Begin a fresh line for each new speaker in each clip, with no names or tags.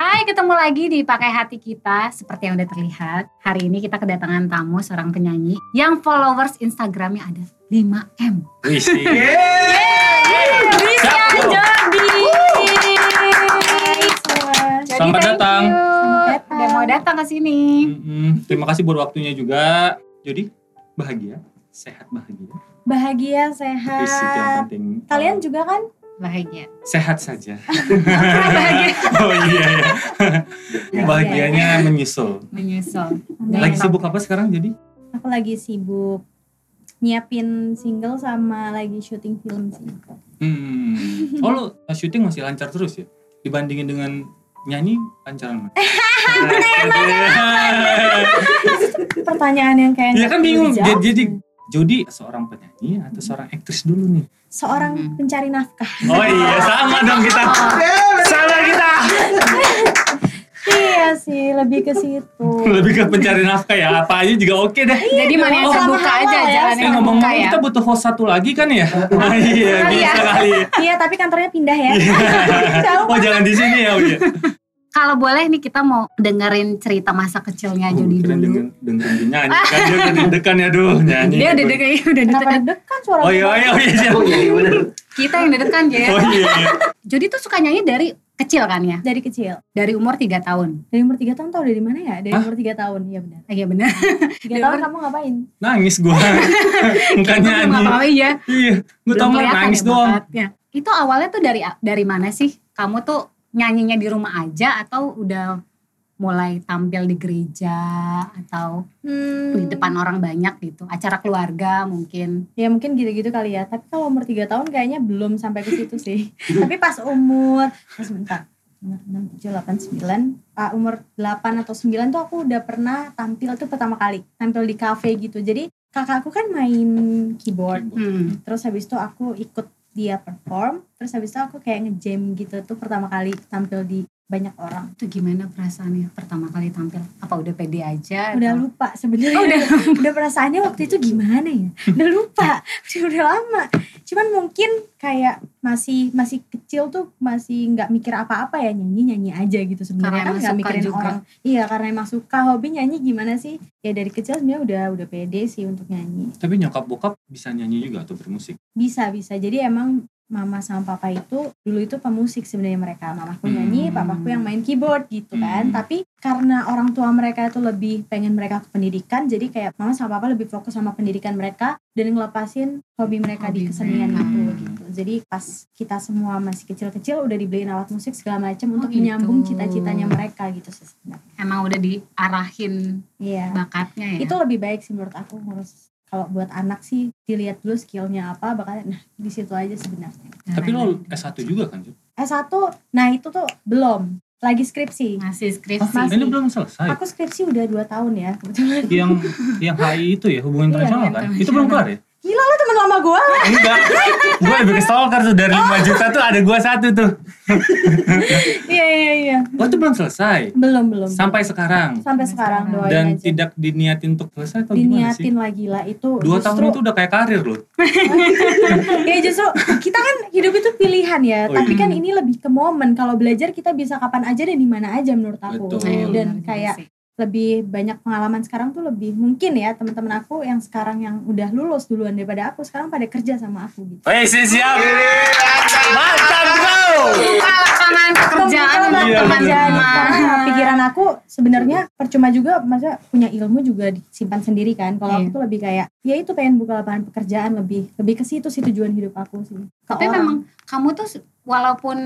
Hai, ketemu lagi di Pakai Hati Kita. Seperti yang udah terlihat, hari ini kita kedatangan tamu seorang penyanyi yang followers Instagramnya ada 5M.
Wih, sih.
Christian
Siap, Bu.
Jordi.
Jadi
Selamat
thank
datang.
you.
Selamat datang. Udah mau datang ke sini.
Mm-mm. Terima kasih buat waktunya juga. Jadi bahagia, sehat bahagia.
Bahagia,
Wih, sih, itu yang
sehat.
penting. uh,
Kalian juga kan?
Bahagia.
sehat saja.
Bahagia.
oh iya. iya. Bahagianya menyusul.
Menyusul.
Lagi
Mantap.
Iya.
sibuk apa sekarang jadi?
Aku lagi sibuk nyiapin single sama lagi syuting film sih.
Hmm. Oh lo syuting masih lancar terus ya? Dibandingin dengan nyanyi lancaran mana?
Pertanyaan yang kayak
Iya
nggak
kan bingung.
dijawab.
Jadi, jadi Jody seorang penyanyi atau seorang aktris dulu nih?
seorang
Hmm.
pencari nafkah.
Oh iya sama dong kita. Sama kita.
iya sih, lebih ke situ.
Lebih ke pencari nafkah ya. Apa aja juga oke deh.
Jadi mana yang
Oh,
terbuka
sama-sama
aja,
ya.
jalan
Eh
yang terbuka
ngomong-ngomong
Iya. ya.
kita butuh host satu lagi kan ya? Ah, iya
Kali ya.
bisa kali. ya.
iya, tapi kantornya pindah ya.
Iya.
Jauh.
Oh jangan di sini ya. Oh, iya.
Nah, Kalau boleh nih kita mau dengerin cerita masa kecilnya
Oh,
Jody
keren
dulu.
dengan dengan dia nyanyi kan dia udah deg-degan ya aduh nyanyi.
Dia udah deg udah
Kenapa
deg
deg-degan suara
Oh iya
gue?
oh, iya oh, iya siap.
Oh iya iya bener.
Kita yang deg kan
Oh
ya.
iya. iya.
Jody tuh suka nyanyi dari kecil kan ya?
Dari kecil.
Dari umur 3 tahun.
Dari umur 3 tahun tau dari mana ya? Dari
Hah?
umur 3 tahun, iya benar.
Ah, Iya benar.
3 tahun kamu ngapain?
Nangis gua. Bukan
Itu belum
nyanyi.
apa-apa iya.
Iya. Gua tau
Belum
nggak
kelihatan
nangis
ya
doang.
bakatnya. Itu awalnya tuh dari dari mana sih? Kamu tuh nyanyinya di rumah aja atau udah mulai tampil di gereja atau
Hmm.
di depan orang banyak gitu, acara keluarga mungkin.
Ya mungkin gitu-gitu kali ya. Tapi kalau umur 3 tahun kayaknya belum sampai ke situ sih. Tapi pas umur, pas bentar. Umur 6, 7, 8, 9. Ah, umur 8 atau 9 tuh aku udah pernah tampil tuh pertama kali. Tampil di cafe gitu. Jadi kakakku kan main keyboard.
Hmm.
Terus habis itu aku ikut dia perform. Terus habis itu aku kayak ngejam gitu tuh pertama kali tampil di banyak orang.
Itu gimana perasaannya pertama kali tampil? Apa udah pede aja?
Udah
atau-
lupa sebenarnya.
Iya, Oh, udah.
udah perasaannya waktu itu gimana ya udah lupa udah, udah lama cuman mungkin kayak masih masih kecil tuh masih nggak mikir apa-apa ya nyanyi nyanyi aja gitu
Karena
sebenarnya kan
emang
nggak
suka
mikirin
juga.
orang iya karena emang suka hobi nyanyi gimana sih ya dari kecil sebenarnya udah udah pede sih untuk nyanyi
Tapi nyokap bokap bisa nyanyi juga atau bermusik.
Iya,
bisa bisa jadi emang mama sama papa itu dulu itu pemusik sebenarnya mereka mamaku
Hmm.
nyanyi papaku yang main keyboard gitu kan
Hmm.
tapi karena orang tua mereka itu lebih pengen mereka ke pendidikan jadi kayak mama sama papa lebih fokus sama pendidikan mereka dan ngelepasin hobi mereka
Hobi
di kesenian
mereka.
itu
Hmm.
gitu jadi pas kita semua masih kecil-kecil udah dibeliin alat musik segala macam
Oh,
untuk
gitu.
menyambung cita-citanya mereka gitu sih sebenarnya
Emang udah diarahin
iya
bakatnya ya?
itu lebih baik sih menurut aku harus kalau buat anak sih dilihat dulu skillnya apa bakal nah di situ aja sebenarnya
Tapi lo
iya.
S1 juga kan? Jod?
S1, nah itu tuh belum, lagi skripsi.
ngasih
Ah,
skripsi.
Masih.
ini belum selesai.
Aku skripsi udah 2 tahun ya, kebetulan.
Yang yang HI itu ya hubungan
Iya,
internasional kan? Itu belum kelar ya?
Itu temen lama gue.
Enggak, gue lebih ke stalker tuh dari 5 juta tuh ada gue satu tuh.
Iya, iya, iya.
Oh itu belum selesai
Belum, belum.
sampai sekarang
Sampai sekarang doain
dan
aja.
tidak diniatin untuk selesai atau gimana sih?
Diniatin lagi lah itu.
Dua tahun
justru-
itu udah kayak karir loh.
ya justru kita kan hidup itu pilihan ya.
Oh,
tapi
iya.
kan ini lebih ke momen. Kalau belajar kita bisa kapan aja dan di mana aja menurut aku.
Betul.
Nah,
Iya,
Dan
benar juga
kayak
sih.
lebih banyak pengalaman sekarang tuh lebih mungkin ya teman-teman aku yang sekarang yang udah lulus duluan daripada aku sekarang pada kerja sama aku gitu.
Wih sih, Eh, siap, mantap kau.
Buka lapangan pekerjaan
Membuka
untuk
Iya,
lapangan pekerjaan.
teman-teman.
Karena pikiran aku sebenarnya percuma juga masa punya ilmu juga disimpan sendiri kan kalau
Iya.
aku tuh lebih kayak ya itu pengen buka lapangan pekerjaan lebih lebih ke situ sih tujuan hidup aku sih Ke
Tapi
orang.
memang kamu tuh se- walaupun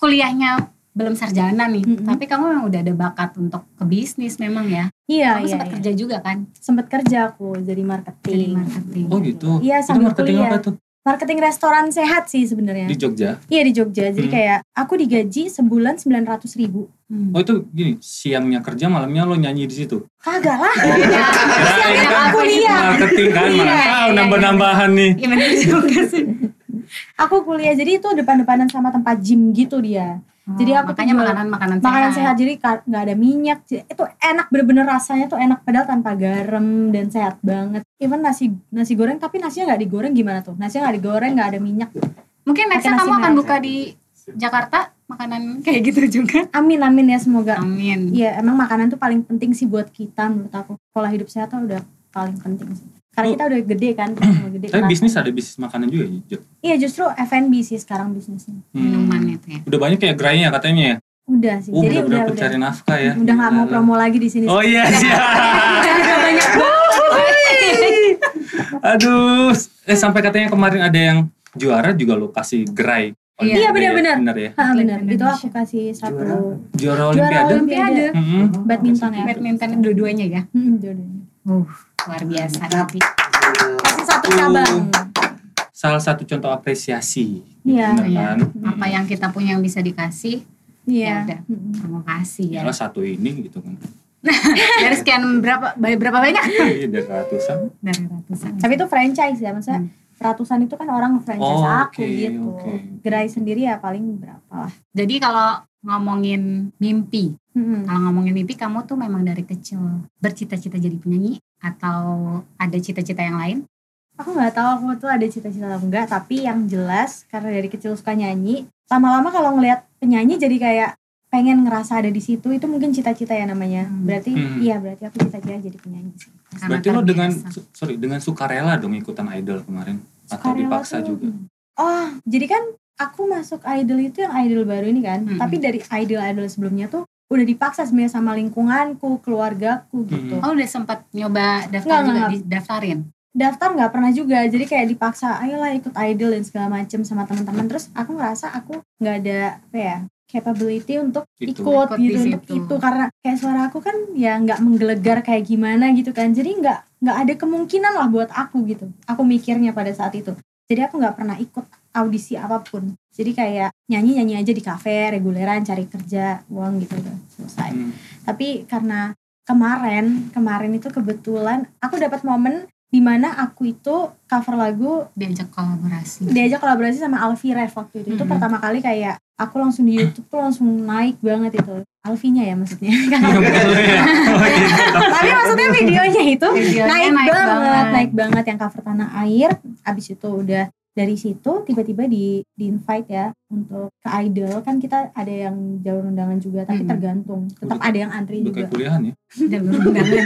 kuliahnya belum sarjana nih,
Mm-mm.
tapi kamu memang udah ada bakat untuk ke bisnis memang ya.
iya
kamu
iya,
sempat
iya.
kerja juga kan
Sempet kerja aku jadi marketing
jadi marketing.
Oh gitu. itu
Iya, sambil
marketing
kuliah.
apa tuh
marketing restoran sehat sih sebenarnya
di Jogja?
iya di Jogja jadi
Hmm.
kayak aku digaji sebulan 900.000 ribu
Hmm.
Oh itu gini siangnya kerja malamnya lo nyanyi di situ.
kagak lah
Iya,
Kirain
iya,
kan
aku iya.
Marketing kan,
Iya,
mana
iya,
tahu
iya.
nambah-nambahan nih.
Iya benar juga sih.
aku kuliah jadi itu depan-depanan sama tempat gym gitu dia Jadi aku
Oh, makanya
jual
makanan-makanan
makanan sehat jadi ka- nggak ada minyak Jadi itu enak bener-bener rasanya tuh enak padahal tanpa garam dan sehat banget even nasi nasi goreng tapi nasinya nggak digoreng gimana tuh nasinya nggak digoreng nggak ada minyak
Mungkin nextnya
Pakai
kamu
nasi
akan
merah.
buka di Jakarta makanan kayak gitu juga.
Amin amin ya semoga.
Amin.
Iya emang makanan tuh paling penting sih buat kita menurut aku. Pola hidup sehat tuh udah paling penting sih.
Oh.
Karena kita udah gede kan, kita udah gede.
Tapi
Nah,
bisnis ada bisnis makanan juga ya. Jo?
Iya justru F&B sih sekarang bisnisnya.
Hmm.
Minuman itu ya.
Udah banyak kayak gerainya ya katanya ya.
Udah sih.
Oh,
Jadi
udah
udah
udah
udah
pencari nafkah ya.
udah nggak mau
Gila.
promo lagi di sini.
Oh iya, iya.
banyak
Aduh, eh sampai katanya kemarin ada yang juara juga lo kasih gerai.
Iya,
Olimpiade ya?
benar-benar.
Benar ya.
Ah, bener.
Atlet
Itu aku
Indonesia.
kasih satu
Juara
juara
Olimpiade.
Olimpiade.
Olimpiade.
Mm-mm.
Badminton ya.
Badminton dua-duanya ya.
Hmm, jodohnya.
Uh, luar biasa tapi
Kasih satu cabang.
Salah satu contoh apresiasi.
Iya.
Benar
Iya.
kan?
apa yang kita punya yang bisa dikasih, Ya
Iya.
udah.
Mm-mm.
terima kasih
Iya.
ya.
Salah satu ini gitu kan.
Dari sekian berapa berapa banyak?
Iya, dari ratusan.
Dari ratusan.
Tapi itu franchise ya, maksudnya ratusan itu kan orang franchise
Oh, oke,
aku gitu.
oke.
Gerai sendiri ya paling berapa lah.
Jadi kalau ngomongin mimpi,
Mm-mm.
kalau ngomongin mimpi kamu tuh memang dari kecil bercita-cita jadi penyanyi atau ada cita-cita yang lain?
Aku nggak tahu aku tuh ada cita-cita atau enggak, tapi yang jelas karena dari kecil suka nyanyi, lama-lama kalau ngelihat penyanyi jadi kayak pengen ngerasa ada di situ itu mungkin cita-cita ya namanya.
Hmm.
Berarti
Hmm.
iya berarti aku cita-cita jadi penyanyi sih.
Karena
Berarti lo dengan
terbiasa.
su- sorry dengan sukarela dong ikutan idol kemarin atau
Sukarela
dipaksa
tuh-
juga.
Oh, jadi kan aku masuk idol itu yang idol baru ini kan.
Mm-mm.
Tapi dari idol-idol sebelumnya tuh udah dipaksa sebenarnya sama lingkunganku, keluargaku gitu.
Oh udah sempat nyoba
Nggak,
daftar juga
nggak.
di daftarin.
Daftar nggak pernah juga, jadi kayak dipaksa ayolah ikut idol dan segala macem sama teman-teman. Terus aku ngerasa aku nggak ada apa ya capability untuk
Itu.
ikut
Ikut di
gitu untuk
situ.
itu karena kayak suara aku kan ya nggak menggelegar kayak gimana gitu kan jadi nggak nggak ada kemungkinan lah buat aku gitu aku mikirnya pada saat itu jadi aku nggak pernah ikut audisi apapun jadi kayak nyanyi nyanyi aja di kafe reguleran cari kerja uang gitu udah selesai
Hmm.
tapi karena kemarin kemarin itu kebetulan aku dapat momen dimana aku itu cover lagu
Diajak kolaborasi.
diajak kolaborasi sama Alfi Rev waktu itu. Itu
Mhm.
pertama kali kayak aku langsung di YouTube tuh langsung naik banget itu. Alfinya ya maksudnya.
Iya, ya.
Tapi maksudnya videonya itu
Videonya
Oh, naik, banget, naik banget yang cover tanah air. Abis itu udah dari situ tiba-tiba di di invite ya untuk ke idol kan kita ada yang jalur undangan juga tapi
Mhm.
tergantung tetap
Udah-
ada yang antri
Udah
juga
kayak kuliahan ya.
Jalur undangan.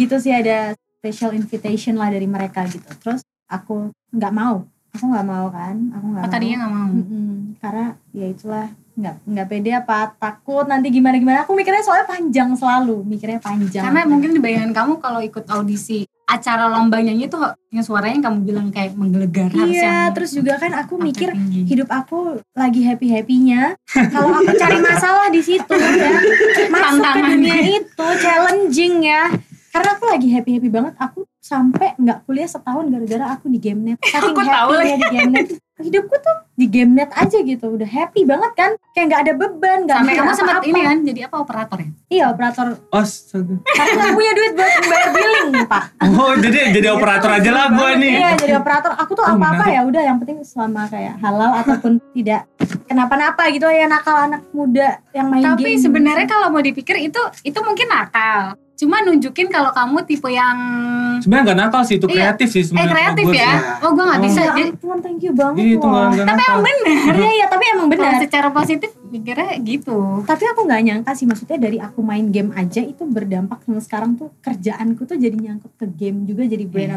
gitu sih ada special invitation lah dari mereka gitu terus aku nggak mau aku nggak mau kan aku nggak
Oh
mau
tadinya gak mau.
Mm-mm, karena ya itulah nggak nggak pede apa takut nanti gimana gimana aku mikirnya soalnya panjang selalu mikirnya panjang
Karena mungkin di bayangan kamu kalau ikut audisi acara lomba nyanyi itu yang suaranya kamu bilang kayak menggelegar harus
iya
yang
terus juga kan aku
pakai
mikir
tinggi.
hidup aku lagi happy happynya kalau aku cari masalah di situ ya masuk ke
Tantangan.
dunia itu challenging ya karena aku lagi happy happy banget aku sampai nggak kuliah setahun gara-gara aku di game net saking
Aku tahu
happy di game net hidupku tuh di game net aja gitu udah happy banget kan kayak nggak ada beban nggak
Sampai
"Iya, mikir
kamu sempat
apa-apa.
ini kan jadi apa operator ya?
iya operator
Astaga.
Karena nggak punya duit buat bayar billing, Pak.
Oh jadi jadi operator aja lah gue nih.
Iya, jadi operator. Aku tuh
Oh,
apa-apa
menarik.
ya udah yang penting selama kayak halal ataupun tidak kenapa-napa gitu ya nakal anak muda yang main
Tapi
game.
sebenarnya kalau mau dipikir itu itu mungkin nakal. Cuma nunjukin kalau kamu tipe yang
Sebenarnya gak nakal sih itu
Iya.
kreatif sih
eh
sebenarnya.
kreatif
kalau gua sih.
ya. Oh gue nggak
Oh.
bisa.
ya
Jadi,
ampun, thank you banget
Gitu
loh.
gak
tapi
nakal.
emang bener.
Iya, iya, tapi emang
Kalau
benar.
secara positif mikirnya gitu.
Tapi aku nggak nyangka sih maksudnya dari aku main game aja itu berdampak sama sekarang tuh kerjaanku tuh jadi nyangkut ke game juga jadi brand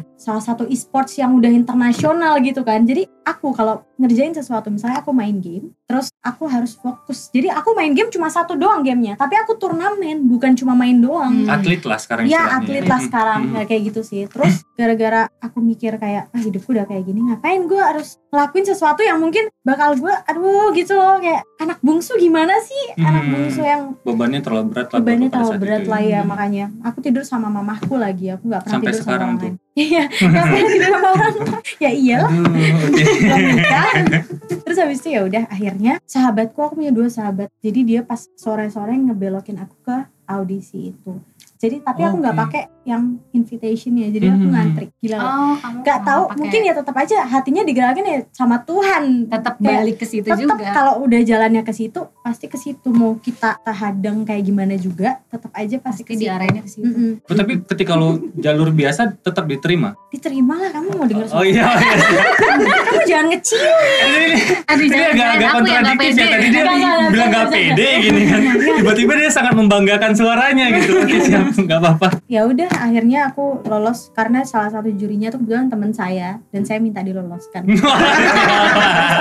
Oh.
salah satu e-sports yang udah internasional gitu kan. Jadi aku kalau ngerjain sesuatu misalnya aku main game, terus aku harus fokus. Jadi aku main game cuma satu doang gamenya, tapi aku turnamen bukan cuma main doang.
Hmm.
Atlet lah sekarang
Ya
istilahnya.
atlet lah sekarang
Mm-mm.
Nah, kayak gitu sih. Terus gara-gara aku mikir kayak ah hidupku udah kayak gini ngapain gue harus ngelakuin sesuatu yang mungkin bakal gue aduh gitu loh kayak anak bungsu gimana sih anak
Hmm.
bungsu yang
Bebannya terlalu berat lah.
bebannya
pada
terlalu
saat
berat
itu ya.
lah ya
Hmm.
makanya aku tidur sama mamahku lagi aku nggak pernah
Sampai
tidur
sekarang
sama orang
tuh.
lain iya nggak pernah tidur sama orang lain. ya iyalah
Aduh, oke.
belum nikah terus habis itu ya udah akhirnya sahabatku aku punya dua sahabat jadi dia pas sore-sore ngebelokin aku ke audisi itu Jadi tapi aku nggak
Oke.
pakai yang invitation ya. Jadi aku
Mhm.
ngantri. Gila. nggak?
Oh, kamu
Nggak tahu,
pakai-
mungkin ya tetap aja hatinya digerakin ya sama Tuhan.
tetap
kayak
balik ke situ
tetap
Gitu juga.
kalau udah jalannya ke situ pasti ke situ mau kita tahadeng kayak gimana juga tetap aja pasti,
Pasti gitu.
ke situ.
diarahinnya ke situ.
Mm-mm.
Oh, tapi ketika lo jalur biasa tetap diterima.
Diterima lah kamu mau denger
Oh iya. iya.
Kamu jangan ngecil.
Aduh,
Ini
jangan
agak-agak
aku yang gak
kontradiktif ya
pede.
tadi dia
Enggak, enggak, enggak,
bilang gak
enggak,
pede gini kan. Tiba-tiba dia sangat membanggakan suaranya gitu. Oke siap, nggak apa-apa.
Ya udah akhirnya aku lolos karena salah satu jurinya tuh kebetulan teman saya dan saya minta diloloskan.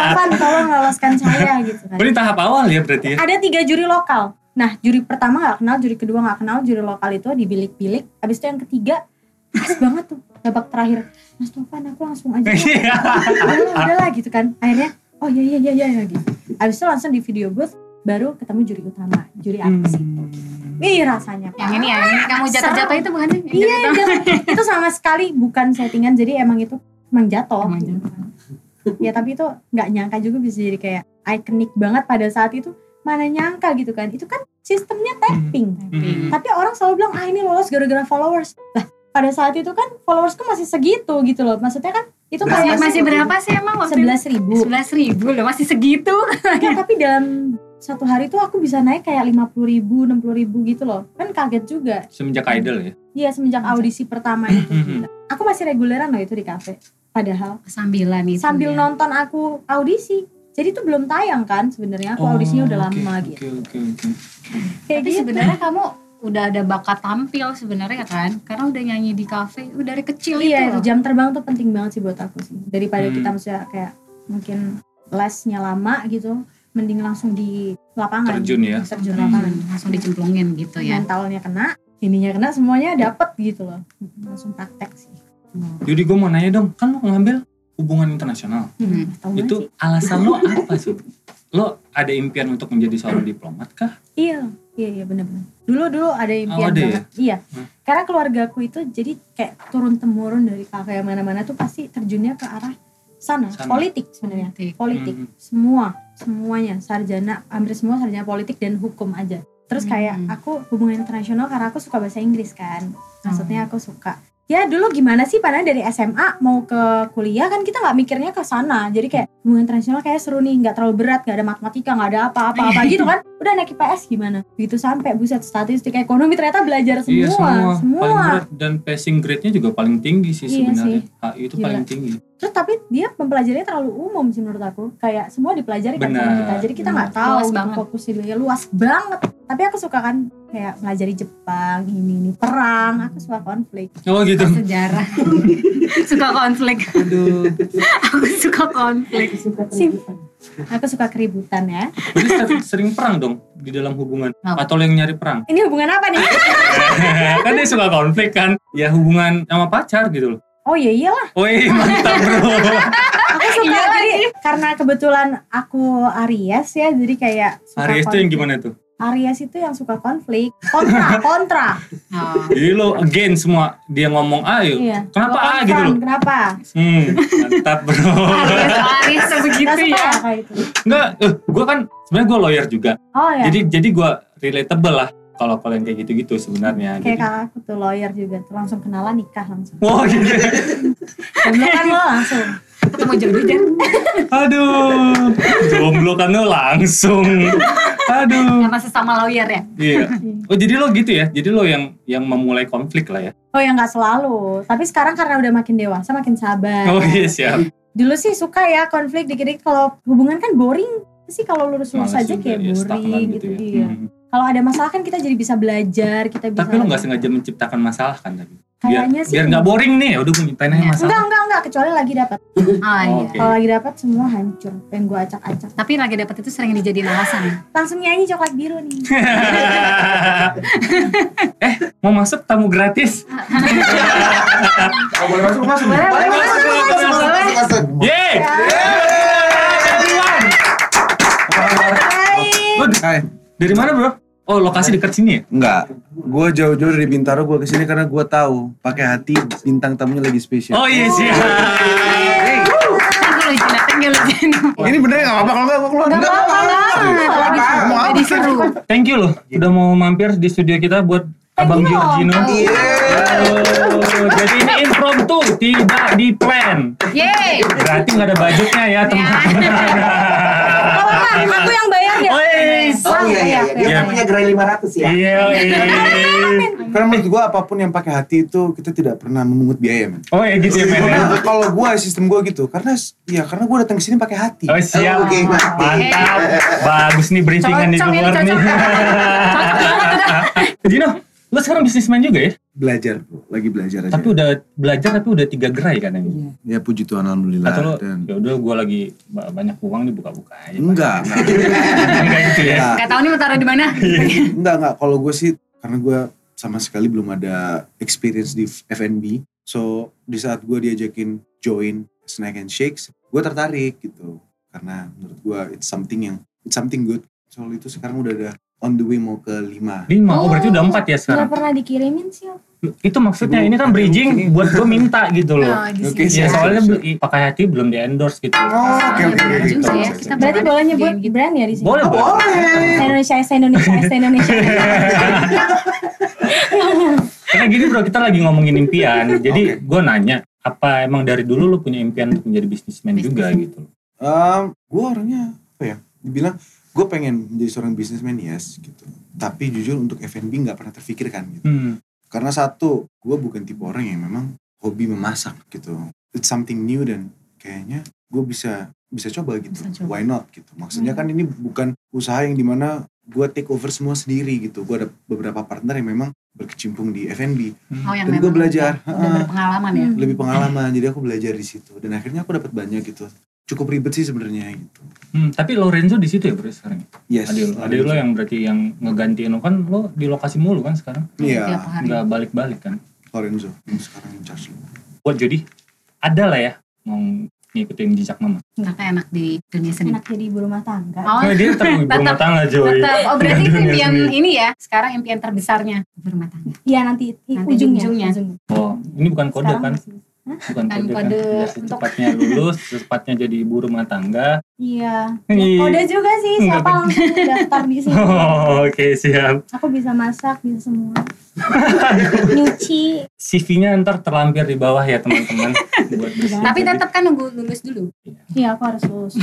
Papan tolong loloskan saya gitu kan.
Berarti tahap awal ya berarti ya.
Ada tiga juri lokal. Nah juri pertama nggak kenal, juri kedua nggak kenal, juri lokal itu di bilik-bilik. Abis itu yang ketiga pas banget tuh babak terakhir. Mas Tovan aku langsung aja. lah."
Iya.
udahlah udahlah gitu kan akhirnya oh iya iya iya iya iya, gitu abis itu langsung di video booth baru ketemu juri utama
Iya.
juri
Hmm.
artis itu Wih rasanya
Yang
Pak.
ini ya, yang ini kamu jatuh-jatuh itu bukan sih?
Iya, iya, itu sama sekali bukan settingan jadi emang itu emang jatuh.
Emang
gitu kan. ya tapi itu nggak nyangka juga bisa jadi kayak ikonik banget pada saat itu mana nyangka gitu kan itu kan sistemnya tapping
Hmm.
tapi orang selalu bilang ah ini lolos gara-gara followers lah pada saat itu kan followersku masih segitu gitu loh maksudnya kan itu
Berapa
Masih,
kayak
masih berapa sih emang waktu
sebelas ribu
Sebelas ribu loh, masih segitu.
Enggak, tapi dalam satu hari tuh aku bisa naik kayak 50 ribu, 60 ribu gitu loh. Kan kaget juga.
Semenjak idol ya.
Iya, semenjak audisi pertama itu. aku masih reguleran loh itu di kafe. Padahal
Sambilan itu. ya.
sambil nonton aku audisi. Jadi tuh belum tayang kan sebenarnya. Aku audisinya udah
Oh, oke,
lama
oke,
gitu.
Oke oke.
Kayak
Tapi
gitu.
sebenarnya kamu udah ada bakat tampil sebenarnya kan? Karena udah nyanyi di kafe, udah dari kecil
Iya,
itu.
itu
loh.
jam terbang tuh penting banget sih buat aku sih. Daripada
Hmm.
kita misalnya kayak mungkin lesnya lama gitu, mending langsung di lapangan.
Terjun ya.
Terjun
Hmm,
lapangan.
langsung dicemplungin gitu ya. Iya.
mentalnya kena ininya kena semuanya dapet gitu loh langsung praktek sih
Yudi gue mau nanya dong, kan lo ngambil hubungan internasional.
Hmm.
Tahu nggak
Itu
sih?
alasan lo apa sih? Lo ada impian untuk menjadi seorang
Hmm.
diplomat kah?
iya iya iya benar-benar dulu dulu ada impian
Oh, ada ya?
banget iya
Hmm.
karena keluarga aku itu jadi kayak turun temurun dari kakek yang mana-mana tuh pasti terjunnya ke arah sana,
Sana.
politik sebenarnya
Politik.
politik
Hmm.
semua semuanya sarjana hampir semua sarjana politik dan hukum aja terus kayak
Hmm.
aku hubungan internasional karena aku suka bahasa Inggris kan maksudnya aku suka ya dulu gimana sih padahal dari SMA mau ke kuliah kan kita nggak mikirnya ke sana jadi kayak hubungan internasional kayak seru nih nggak terlalu berat nggak ada matematika nggak ada apa-apa apa gitu kan udah naik IPS gimana begitu sampai buset statistik ekonomi ternyata belajar semua
iya semua,
semua,
paling berat dan passing grade-nya juga paling tinggi sih
Iya
sebenarnya.
sih.
HI itu
Gila.
paling tinggi.
terus tapi dia mempelajarinya terlalu umum sih menurut aku kayak semua dipelajari kan sama
Benar, Hmm.
kita jadi kita nggak
benar.
tahu
Luas
gitu
banget.
fokusnya dia luas banget tapi aku suka kan kayak pelajari Jepang ini ini perang aku suka konflik
Oh gitu.
Sejarah. suka konflik.
Aduh.
Aku suka konflik.
Sim- aku suka keributan ya
Berarti ser- sering perang dong di dalam hubungan
Kenapa?
atau lo yang nyari perang?
ini hubungan apa nih
kan dia suka konflik kan. Ya hubungan sama pacar gitu loh.
oh iya iyalah
Woi, mantap bro.
aku suka
Iya
jadi karena kebetulan aku Aries ya jadi kayak suka
Aries itu yang
konflik.
gimana tuh?
Aries itu yang suka konflik kontra kontra
Oh.
Jadi lo again semua dia ngomong A yuk.
iya
Kenapa
Gua
A gitu
konfront,
loh?
kenapa
Hmm, mantap bro.
Aris, Aris
Gak
Iya, begitu
suka
iya.
ya.
ya kayak itu
Enggak, eh, gue kan sebenarnya gue lawyer juga.
oh ya
Jadi jadi gue relatable lah kalau kalian kayak gitu-gitu sebenarnya.
Kayak
Jadi,
kakak aku tuh lawyer juga tuh langsung kenalan nikah langsung.
Wah gitu.
Jomblo kan lo langsung.
Ketemu jodoh Jan.
Aduh, jomblo kan lo langsung. Aduh.
Sama sesama lawyer ya.
Iya. Oh jadi lo gitu ya? Jadi lo yang yang memulai konflik lah ya?
Oh ya nggak selalu. Tapi sekarang karena udah makin dewasa makin sabar.
Oh iya siap.
Dulu sih suka ya konflik dikit-dikit. Kalau hubungan kan boring sih kalau lurus-lurus
Males
aja
juga,
kayak
ya, stagnan
boring gitu, iya.
Hmm.
Kalau ada masalah kan kita jadi bisa belajar, kita bisa.
Tapi lo nggak sengaja menciptakan masalah kan tapi? Biar
Kayaknya sih.
biar nggak boring nih. Udah gue nyiptain aja
Iya.
masalah.
Enggak, enggak, enggak, kecuali lagi dapat.
Oh iya.
Oke.
Kalau lagi dapat semua hancur, pengen gue acak-acak.
Tapi lagi dapat itu sering dijadiin alasan. ya?
Langsung nyanyi coklat biru nih.
eh mau masuk tamu gratis?
Oh, boleh masuk, masuk.
Boleh, boleh,
masuk,
boleh, boleh,
masuk, masuk,
boleh.
masuk, masuk.
Yeay!
Ya.
Everyone!
Hai.
Lo d-
Hai.
dari mana bro? Oh lokasi dekat sini ya?
Enggak, gue jauh-jauh dari Bintaro gue kesini karena gue tahu pakai hati bintang tamunya lagi spesial.
Oh iya siap.
Thank you Luciana, thank you Luciana.
iya.
Ini bener gak apa-apa kalau nggak gue keluar. Nggak
Banget.
apa-apa.
Lagi
Mau
seru.
apa?
Jadi seru.
Thank you loh, udah mau mampir di studio kita buat Abang Giorgino.
Iya.
Oh, jadi ini impromptu, tidak di plan.
Yeay.
Berarti nggak ada budgetnya ya teman-teman.
Kalau enggak, aku yang bayar ya.
Ois.
Iya. Oh iya iya, iya. dia
Iya.
namanya gerai 500 ya.
Iya. iya.
Karena menurut gue apapun yang pakai hati itu kita tidak pernah memungut biaya men.
Oh ya gitu ya men. ya.
Karena kalau gue sistem gue gitu, karena ya karena gue datang kesini pakai hati.
Oh siap.
Oke, mantap.
Mantap. Bagus nih berintingan di
Cocok ini,
luar nih.
cocok. Cocok banget udah.
Gino, lo sekarang bisnismen juga ya?
Belajar bro, lagi belajar aja.
Tapi udah belajar tapi udah tiga gerai kan ini.
Ya puji Tuhan alhamdulillah.
Atau lo
Dan
ya udah gue lagi ba- banyak uang nih buka-buka aja.
enggak, enggak.
Enggak gitu ya.
Nah,
Gak tau nih mau taruh di mana.
enggak enggak kalau gue sih karena gue sama sekali belum ada experience di F&B so di saat gue diajakin join snack and shakes gue tertarik gitu karena menurut gue it's something yang it's something good soal itu sekarang udah ada on the way mau ke lima
Lima, oh berarti udah empat ya
Gak
sekarang.
pernah dikirimin sih aku.
Itu maksudnya ini kan bridging buat gue minta gitu loh.
Oh, di
Oke,
sini.
Iya soalnya beli- pakai hati belum di endorse gitu.
Oh, oke oke oke,
Bener
oke.
juga
Sorry,
ya, kita
sorry, sorry.
Berarti boleh nyebut
Gitu.
brand ya di sini.
Boleh,
Oh,
boleh.
boleh.
Indonesia, Indonesia, Indonesia, Indonesia.
Karena gini bro, kita lagi ngomongin impian. Jadi
Oke.
gue nanya, apa emang dari dulu lu punya impian untuk menjadi bisnismen juga gitu?
gue orangnya apa ya dibilang gue pengen menjadi seorang businessman yes gitu tapi jujur untuk F&B nggak pernah terfikirkan gitu
Hmm.
Karena satu, gue bukan tipe orang yang memang hobi memasak gitu. It's something new dan kayaknya gue bisa bisa coba gitu.
Bisa coba. Hmm.
Why not gitu. Maksudnya kan ini bukan usaha yang dimana gue take over semua sendiri gitu. Gue ada beberapa partner yang memang berkecimpung di F&B.
Oh yang
Dan
memang
gue belajar.
Udah
Ha-ha.
berpengalaman ya.
Lebih pengalaman, jadi aku belajar di situ. Dan akhirnya aku dapat banyak gitu. Cukup ribet sih sebenarnya gitu.
Hmm, tapi Lorenzo di situ ya bro sekarang.
Yes.
Adil, adil ya. lo yang berarti yang ngegantiin lo kan lo di lokasi mulu kan sekarang,
Tiap
Iya,
hari.
nggak balik-balik kan.
Lorenzo. Yang sekarang in charge lu.
Buat jadi ada lah ya mau ngikutin jejak mama.
Nggak kayak enak di dunia seni.
Enak jadi ibu rumah tangga.
Oh,
Nah, dia terlalu
Tetap-
berumah tangga Joy.
tetap. Oh berarti itu
Dunia
impian
seni.
ini ya. Sekarang impian terbesarnya berumah tangga.
Iya nanti, i-
Nanti di
ujungnya.
ujungnya.
Oh, ini bukan kode kan?
Sekarang masih-
Bukan
Bukan kode
kode, kan? Ya,
untuk-
secepatnya lulus, secepatnya jadi ibu rumah tangga.
Iya.
Ih.
Kode juga sih
Enggak
siapa
kan.
langsung daftar di sini.
Oh, Oke siap.
Aku bisa masak, bisa semua. Nyuci.
CV-nya ntar terlampir di bawah ya teman-teman. Buat bisnis.
Tapi tetap kan nunggu lulus dulu.
Iya aku harus lulus.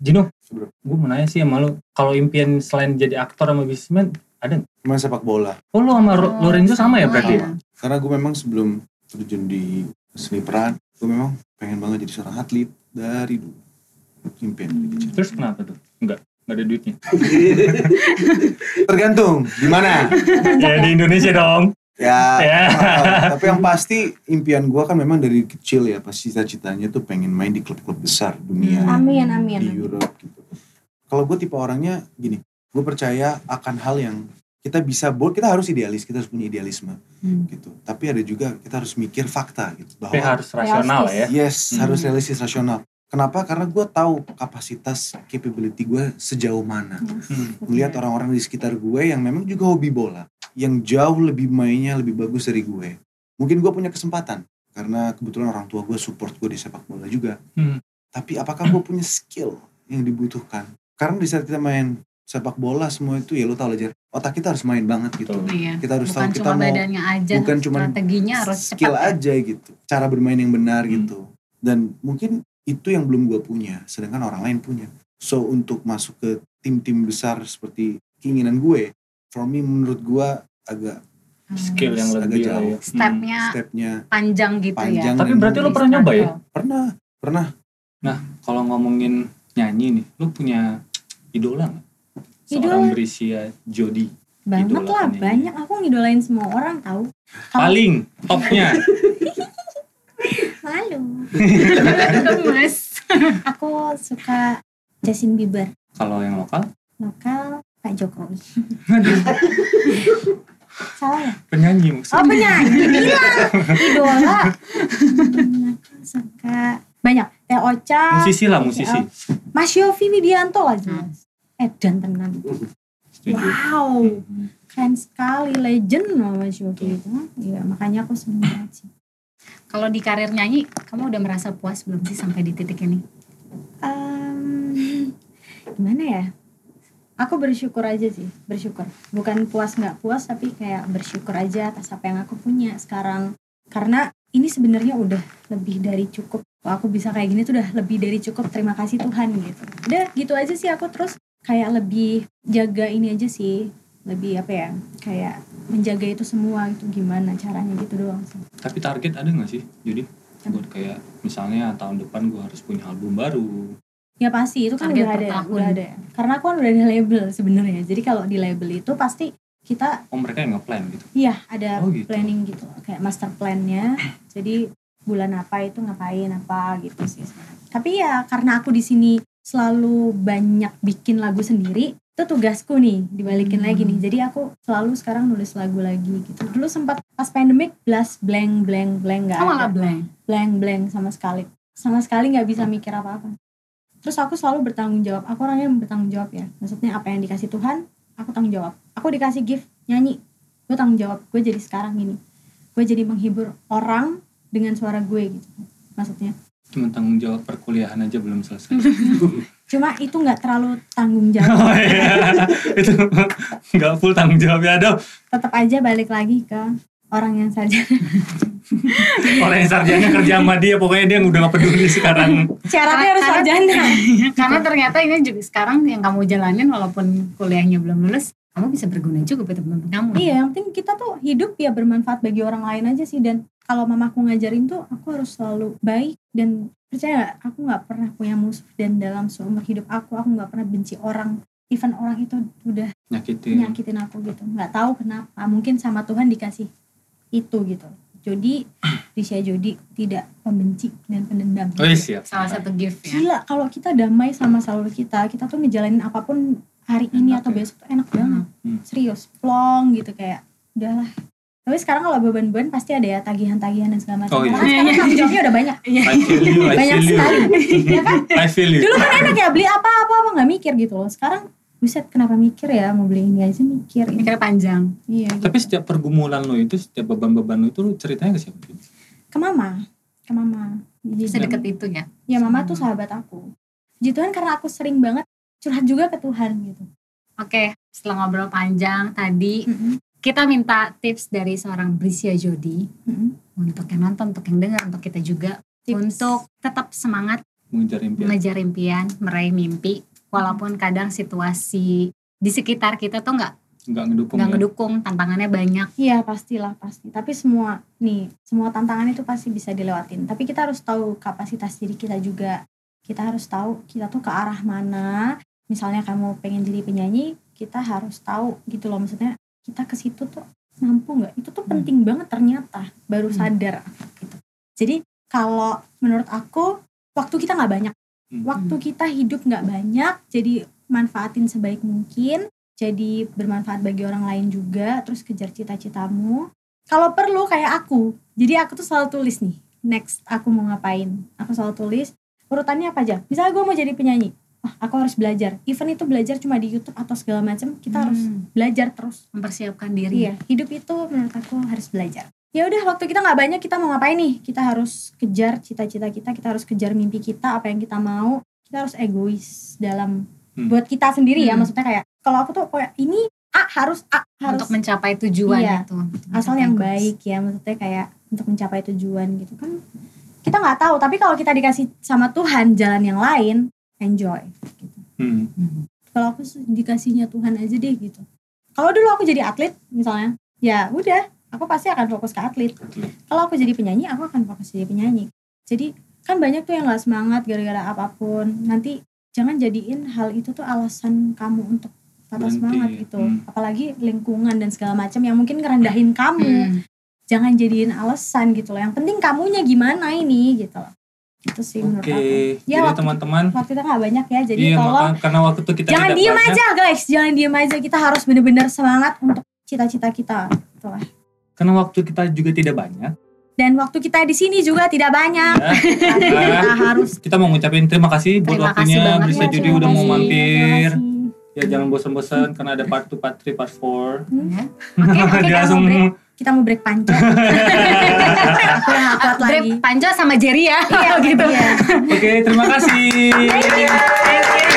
Jino,
Bro.
gue mau nanya sih sama lo, kalau impian selain jadi aktor sama bisnismen, ada nggak?
Cuman sepak bola.
Oh lo sama Ro- Lorenzo sama ya
Sama
berarti?
Iya.
ya.
karena gue memang sebelum terjun di seni peran gue memang pengen banget jadi seorang atlet dari dulu impian gitu. dari kecil.
Terus kenapa tuh? Enggak, enggak ada duitnya.
tergantung di mana
ya di Indonesia dong.
ya
Ya.
eh, tapi yang pasti impian gue kan memang dari kecil ya pasti cita-citanya tuh pengen main di klub-klub besar dunia
Amin,
di
Hmm. amin.
Europe gitu kalau gue tipe orangnya gini gue percaya akan hal yang kita bisa buat kita harus idealis kita harus punya idealisme
Hmm.
gitu tapi ada juga kita harus mikir fakta gitu
Tapi
bahwa
harus rasional lah ya.
Yes,
Hmm.
harus realistis rasional. Kenapa? Karena gue tahu kapasitas capability gue sejauh mana.
Hmm.
Melihat orang-orang di sekitar gue yang memang juga hobi bola, yang jauh lebih mainnya lebih bagus dari gue. Mungkin gue punya kesempatan karena kebetulan orang tua gue support gue di sepak bola juga.
Hmm.
Tapi apakah gue punya skill yang dibutuhkan? Karena di saat kita main sepak bola semua itu ya lo tau lah Jer, otak kita harus main banget gitu.
Betul.
Iya.
Kita harus
Bukan
tahu kita
cuma
mau
badannya aja,
bukan cuma
strateginya harus
skill
cepat. ya.
aja gitu cara bermain yang benar
Hmm.
gitu dan mungkin itu yang belum gue punya sedangkan orang lain punya so untuk masuk ke tim-tim besar seperti keinginan gue for me menurut gue agak
Hmm.
Skill yang
Agak
lebih lah
jauh.
ya. Hmm.
Stepnya
stepnya
panjang gitu ya.
panjang
Tapi
dan
berarti lo pernah nyoba ya?
pernah pernah
Hmm. Kalau ngomongin nyanyi nih, lo punya idola nggak? Seorang
Idola?
Brisia Jody.
Banget
Idola
lah,
kan ini.
banyak. Aku ngidolain semua orang tahu. Kamu
Paling topnya.
malu.
Gemes.
Aku suka Justin Bieber.
Kalau yang lokal,
Lokal Pak Jokowi. Salah ya?
penyanyi maksudnya.
Oh penyanyi bilang idola. Hmm, aku suka banyak. Teh Ocha,
Musisi lah, musisi.
Mas Yofi Widianto lah jelas. Edan tenan.
Setuju.
Hmm. Wow,
Hmm.
keren sekali legend loh Mas Yofi itu. Iya makanya aku seneng banget sih.
Kalau di karir nyanyi, kamu udah merasa puas belum sih sampai di titik ini?
Em, gimana ya? aku bersyukur aja sih bersyukur bukan puas nggak puas tapi kayak bersyukur aja atas apa yang aku punya sekarang karena ini sebenarnya udah lebih dari cukup Wah, aku bisa kayak gini tuh udah lebih dari cukup terima kasih Tuhan gitu udah gitu aja sih aku terus kayak lebih jaga ini aja sih lebih apa ya kayak menjaga itu semua itu gimana caranya gitu doang sih
Tapi target ada nggak sih? Jadi buat kayak misalnya tahun depan gue harus punya album baru.
Ya pasti itu kan
Target
udah
per
ada, ya,
tahun.
udah ada. ya. Karena aku kan udah ada label sebenarnya. Jadi kalau di label itu pasti kita
Oh mereka yang ngeplan gitu.
iya ada
Oh, gitu.
planning gitu, kayak master plan-nya. Jadi bulan apa itu ngapain apa gitu sih. sebenarnya. Tapi ya karena aku di sini selalu banyak bikin lagu sendiri, itu tugasku nih dibalikin
Hmm.
lagi nih. Jadi aku selalu sekarang nulis lagu lagi gitu. Dulu sempat pas pandemic blast blank blank blank nggak
Oh malah
ada
blank.
blank blank sama sekali sama sekali nggak bisa mikir apa apa terus aku selalu bertanggung jawab aku orangnya bertanggung jawab ya maksudnya apa yang dikasih Tuhan aku tanggung jawab aku dikasih gift nyanyi gue tanggung jawab gue jadi sekarang ini gue jadi menghibur orang dengan suara gue gitu maksudnya
Cuma tanggung jawab perkuliahan aja belum selesai.
cuma itu nggak terlalu tanggung jawab
oh iya. Itu nggak full tanggung jawabnya ada.
tetap aja balik lagi ke orang yang saja
Orang yang sarjana kerja sama dia pokoknya dia udah gak peduli sekarang.
syaratnya harus
Karena-
sarjana
Karena ternyata ini juga sekarang yang kamu jalanin walaupun kuliahnya belum lulus, kamu bisa berguna juga buat teman-teman kamu.
Iya, yang penting kita tuh hidup ya bermanfaat bagi orang lain aja sih dan kalau mamaku ngajarin tuh aku harus selalu baik dan percaya gak, aku nggak pernah punya musuh dan dalam seumur hidup aku aku nggak pernah benci orang even orang itu udah
Nyakitin.
nyakitin aku gitu nggak tahu kenapa mungkin sama Tuhan dikasih itu gitu jadi Risha Jodi tidak pembenci dan pendendam
Oh iya siap.
Salah satu gift
Iya.
ya.
gila kalau kita damai sama salur kita kita tuh ngejalanin apapun hari ini
Enak
atau
ya.
besok tuh enak banget
Hmm.
serius plong gitu kayak udahlah tapi sekarang kalau beban-beban pasti ada ya tagihan-tagihan dan segala macam
Oh, iya.
Karena sekarang tanggung jawabnya udah banyak
I feel you, I
banyak
feel you.
sekali ya kan
I feel you.
dulu kan enak ya beli apa-apa apa nggak mikir gitu loh sekarang buset kenapa mikir ya mau beli ini aja mikir ini.
Mikirnya panjang.
iya gitu.
Tapi setiap pergumulan lo itu, setiap beban-beban lo itu lo ceritanya ke siapa?
ke mama ke mama Jadi-
Sedekat itu ya.
ya mama tuh sahabat aku Puji Tuhan karena aku sering banget curhat juga ke Tuhan gitu
Oke, setelah ngobrol panjang tadi,
Mm-mm.
kita minta tips dari seorang Brisia Jodi
Mm-mm.
untuk yang nonton, untuk yang dengar, untuk kita juga
Tips. Ya.
untuk tetap semangat
Mengejar impian.
mengejar impian, meraih mimpi walaupun kadang situasi di sekitar kita tuh nggak
Nggak ngedukung.
nggak
ya.
ngedukung, tantangannya banyak.
Iya pastilah pasti. Tapi semua nih semua tantangan itu pasti bisa dilewatin. Tapi kita harus tahu kapasitas diri kita juga. Kita harus tahu kita tuh ke arah mana. Misalnya kamu pengen jadi penyanyi, kita harus tahu gitu loh maksudnya kita ke situ tuh mampu nggak? Itu tuh penting banget ternyata. Baru
Hmm.
sadar aku gitu. Jadi kalau menurut aku waktu kita nggak banyak.
Hmm.
Waktu kita hidup nggak banyak. Jadi manfaatin sebaik mungkin jadi bermanfaat bagi orang lain juga terus kejar cita-citamu kalau perlu kayak aku jadi aku tuh selalu tulis nih next aku mau ngapain aku selalu tulis urutannya apa aja misalnya gue mau jadi penyanyi wah aku harus belajar even itu belajar cuma di YouTube atau segala macam kita harus
Hmm,
belajar terus
mempersiapkan diri.
iya hidup itu menurut aku harus belajar ya udah waktu kita nggak banyak kita mau ngapain nih kita harus kejar cita-cita kita kita harus kejar mimpi kita apa yang kita mau kita harus egois dalam
Hmm.
buat kita sendiri ya
Hmm.
maksudnya kayak kalau aku tuh kayak ini A harus A harus
untuk mencapai tujuan
Iya.
itu. Mencapai
asal yang
goals.
baik ya maksudnya kayak untuk mencapai tujuan gitu kan kita nggak tahu tapi kalau kita dikasih sama Tuhan jalan yang lain enjoy gitu.
Hmm.
Hmm.
kalau aku sih dikasihnya Tuhan aja deh gitu kalau dulu aku jadi atlet misalnya ya udah aku pasti akan fokus ke atlet kalau aku jadi penyanyi aku akan fokus jadi penyanyi jadi kan banyak tuh yang nggak semangat gara-gara apapun nanti jangan jadiin hal itu tuh alasan kamu untuk patah
Berhenti,
semangat
ya.
gitu
Hmm.
apalagi lingkungan dan segala macam yang mungkin ngerendahin kamu
Hmm.
jangan jadiin alasan gitu loh yang penting kamunya gimana ini gitu loh itu
Oke,
sih menurut aku Ya,
jadi
waktu-
teman-teman,
waktu kita nggak banyak ya jadi
iya
tolong
maka- karena waktu itu kita
jangan
tidak
diem
banyak.
aja guys jangan diem aja kita harus bener-bener semangat untuk cita-cita kita
Karena waktu kita juga tidak banyak.
dan waktu kita di sini juga tidak
Ah.
banyak
Ya.
kita harus
Kita mau ngucapin terima kasih buat
Terima kasih
waktunya.
banget
Bisa
ya,
jadi
terima
udah mau
kasih,
mampir.
Terima
Ya jangan bosan-bosan karena ada part 2, part 3, part 4.
Ya. Oke, oke,
Dia
Kak
langsung
Aubrey.
kasih. kita mau break panjang aku nggak kuat
Grab
lagi
Panca sama Jerry ya.
iya
gitu.
iya.
Oke, terima kasih.
Thank you.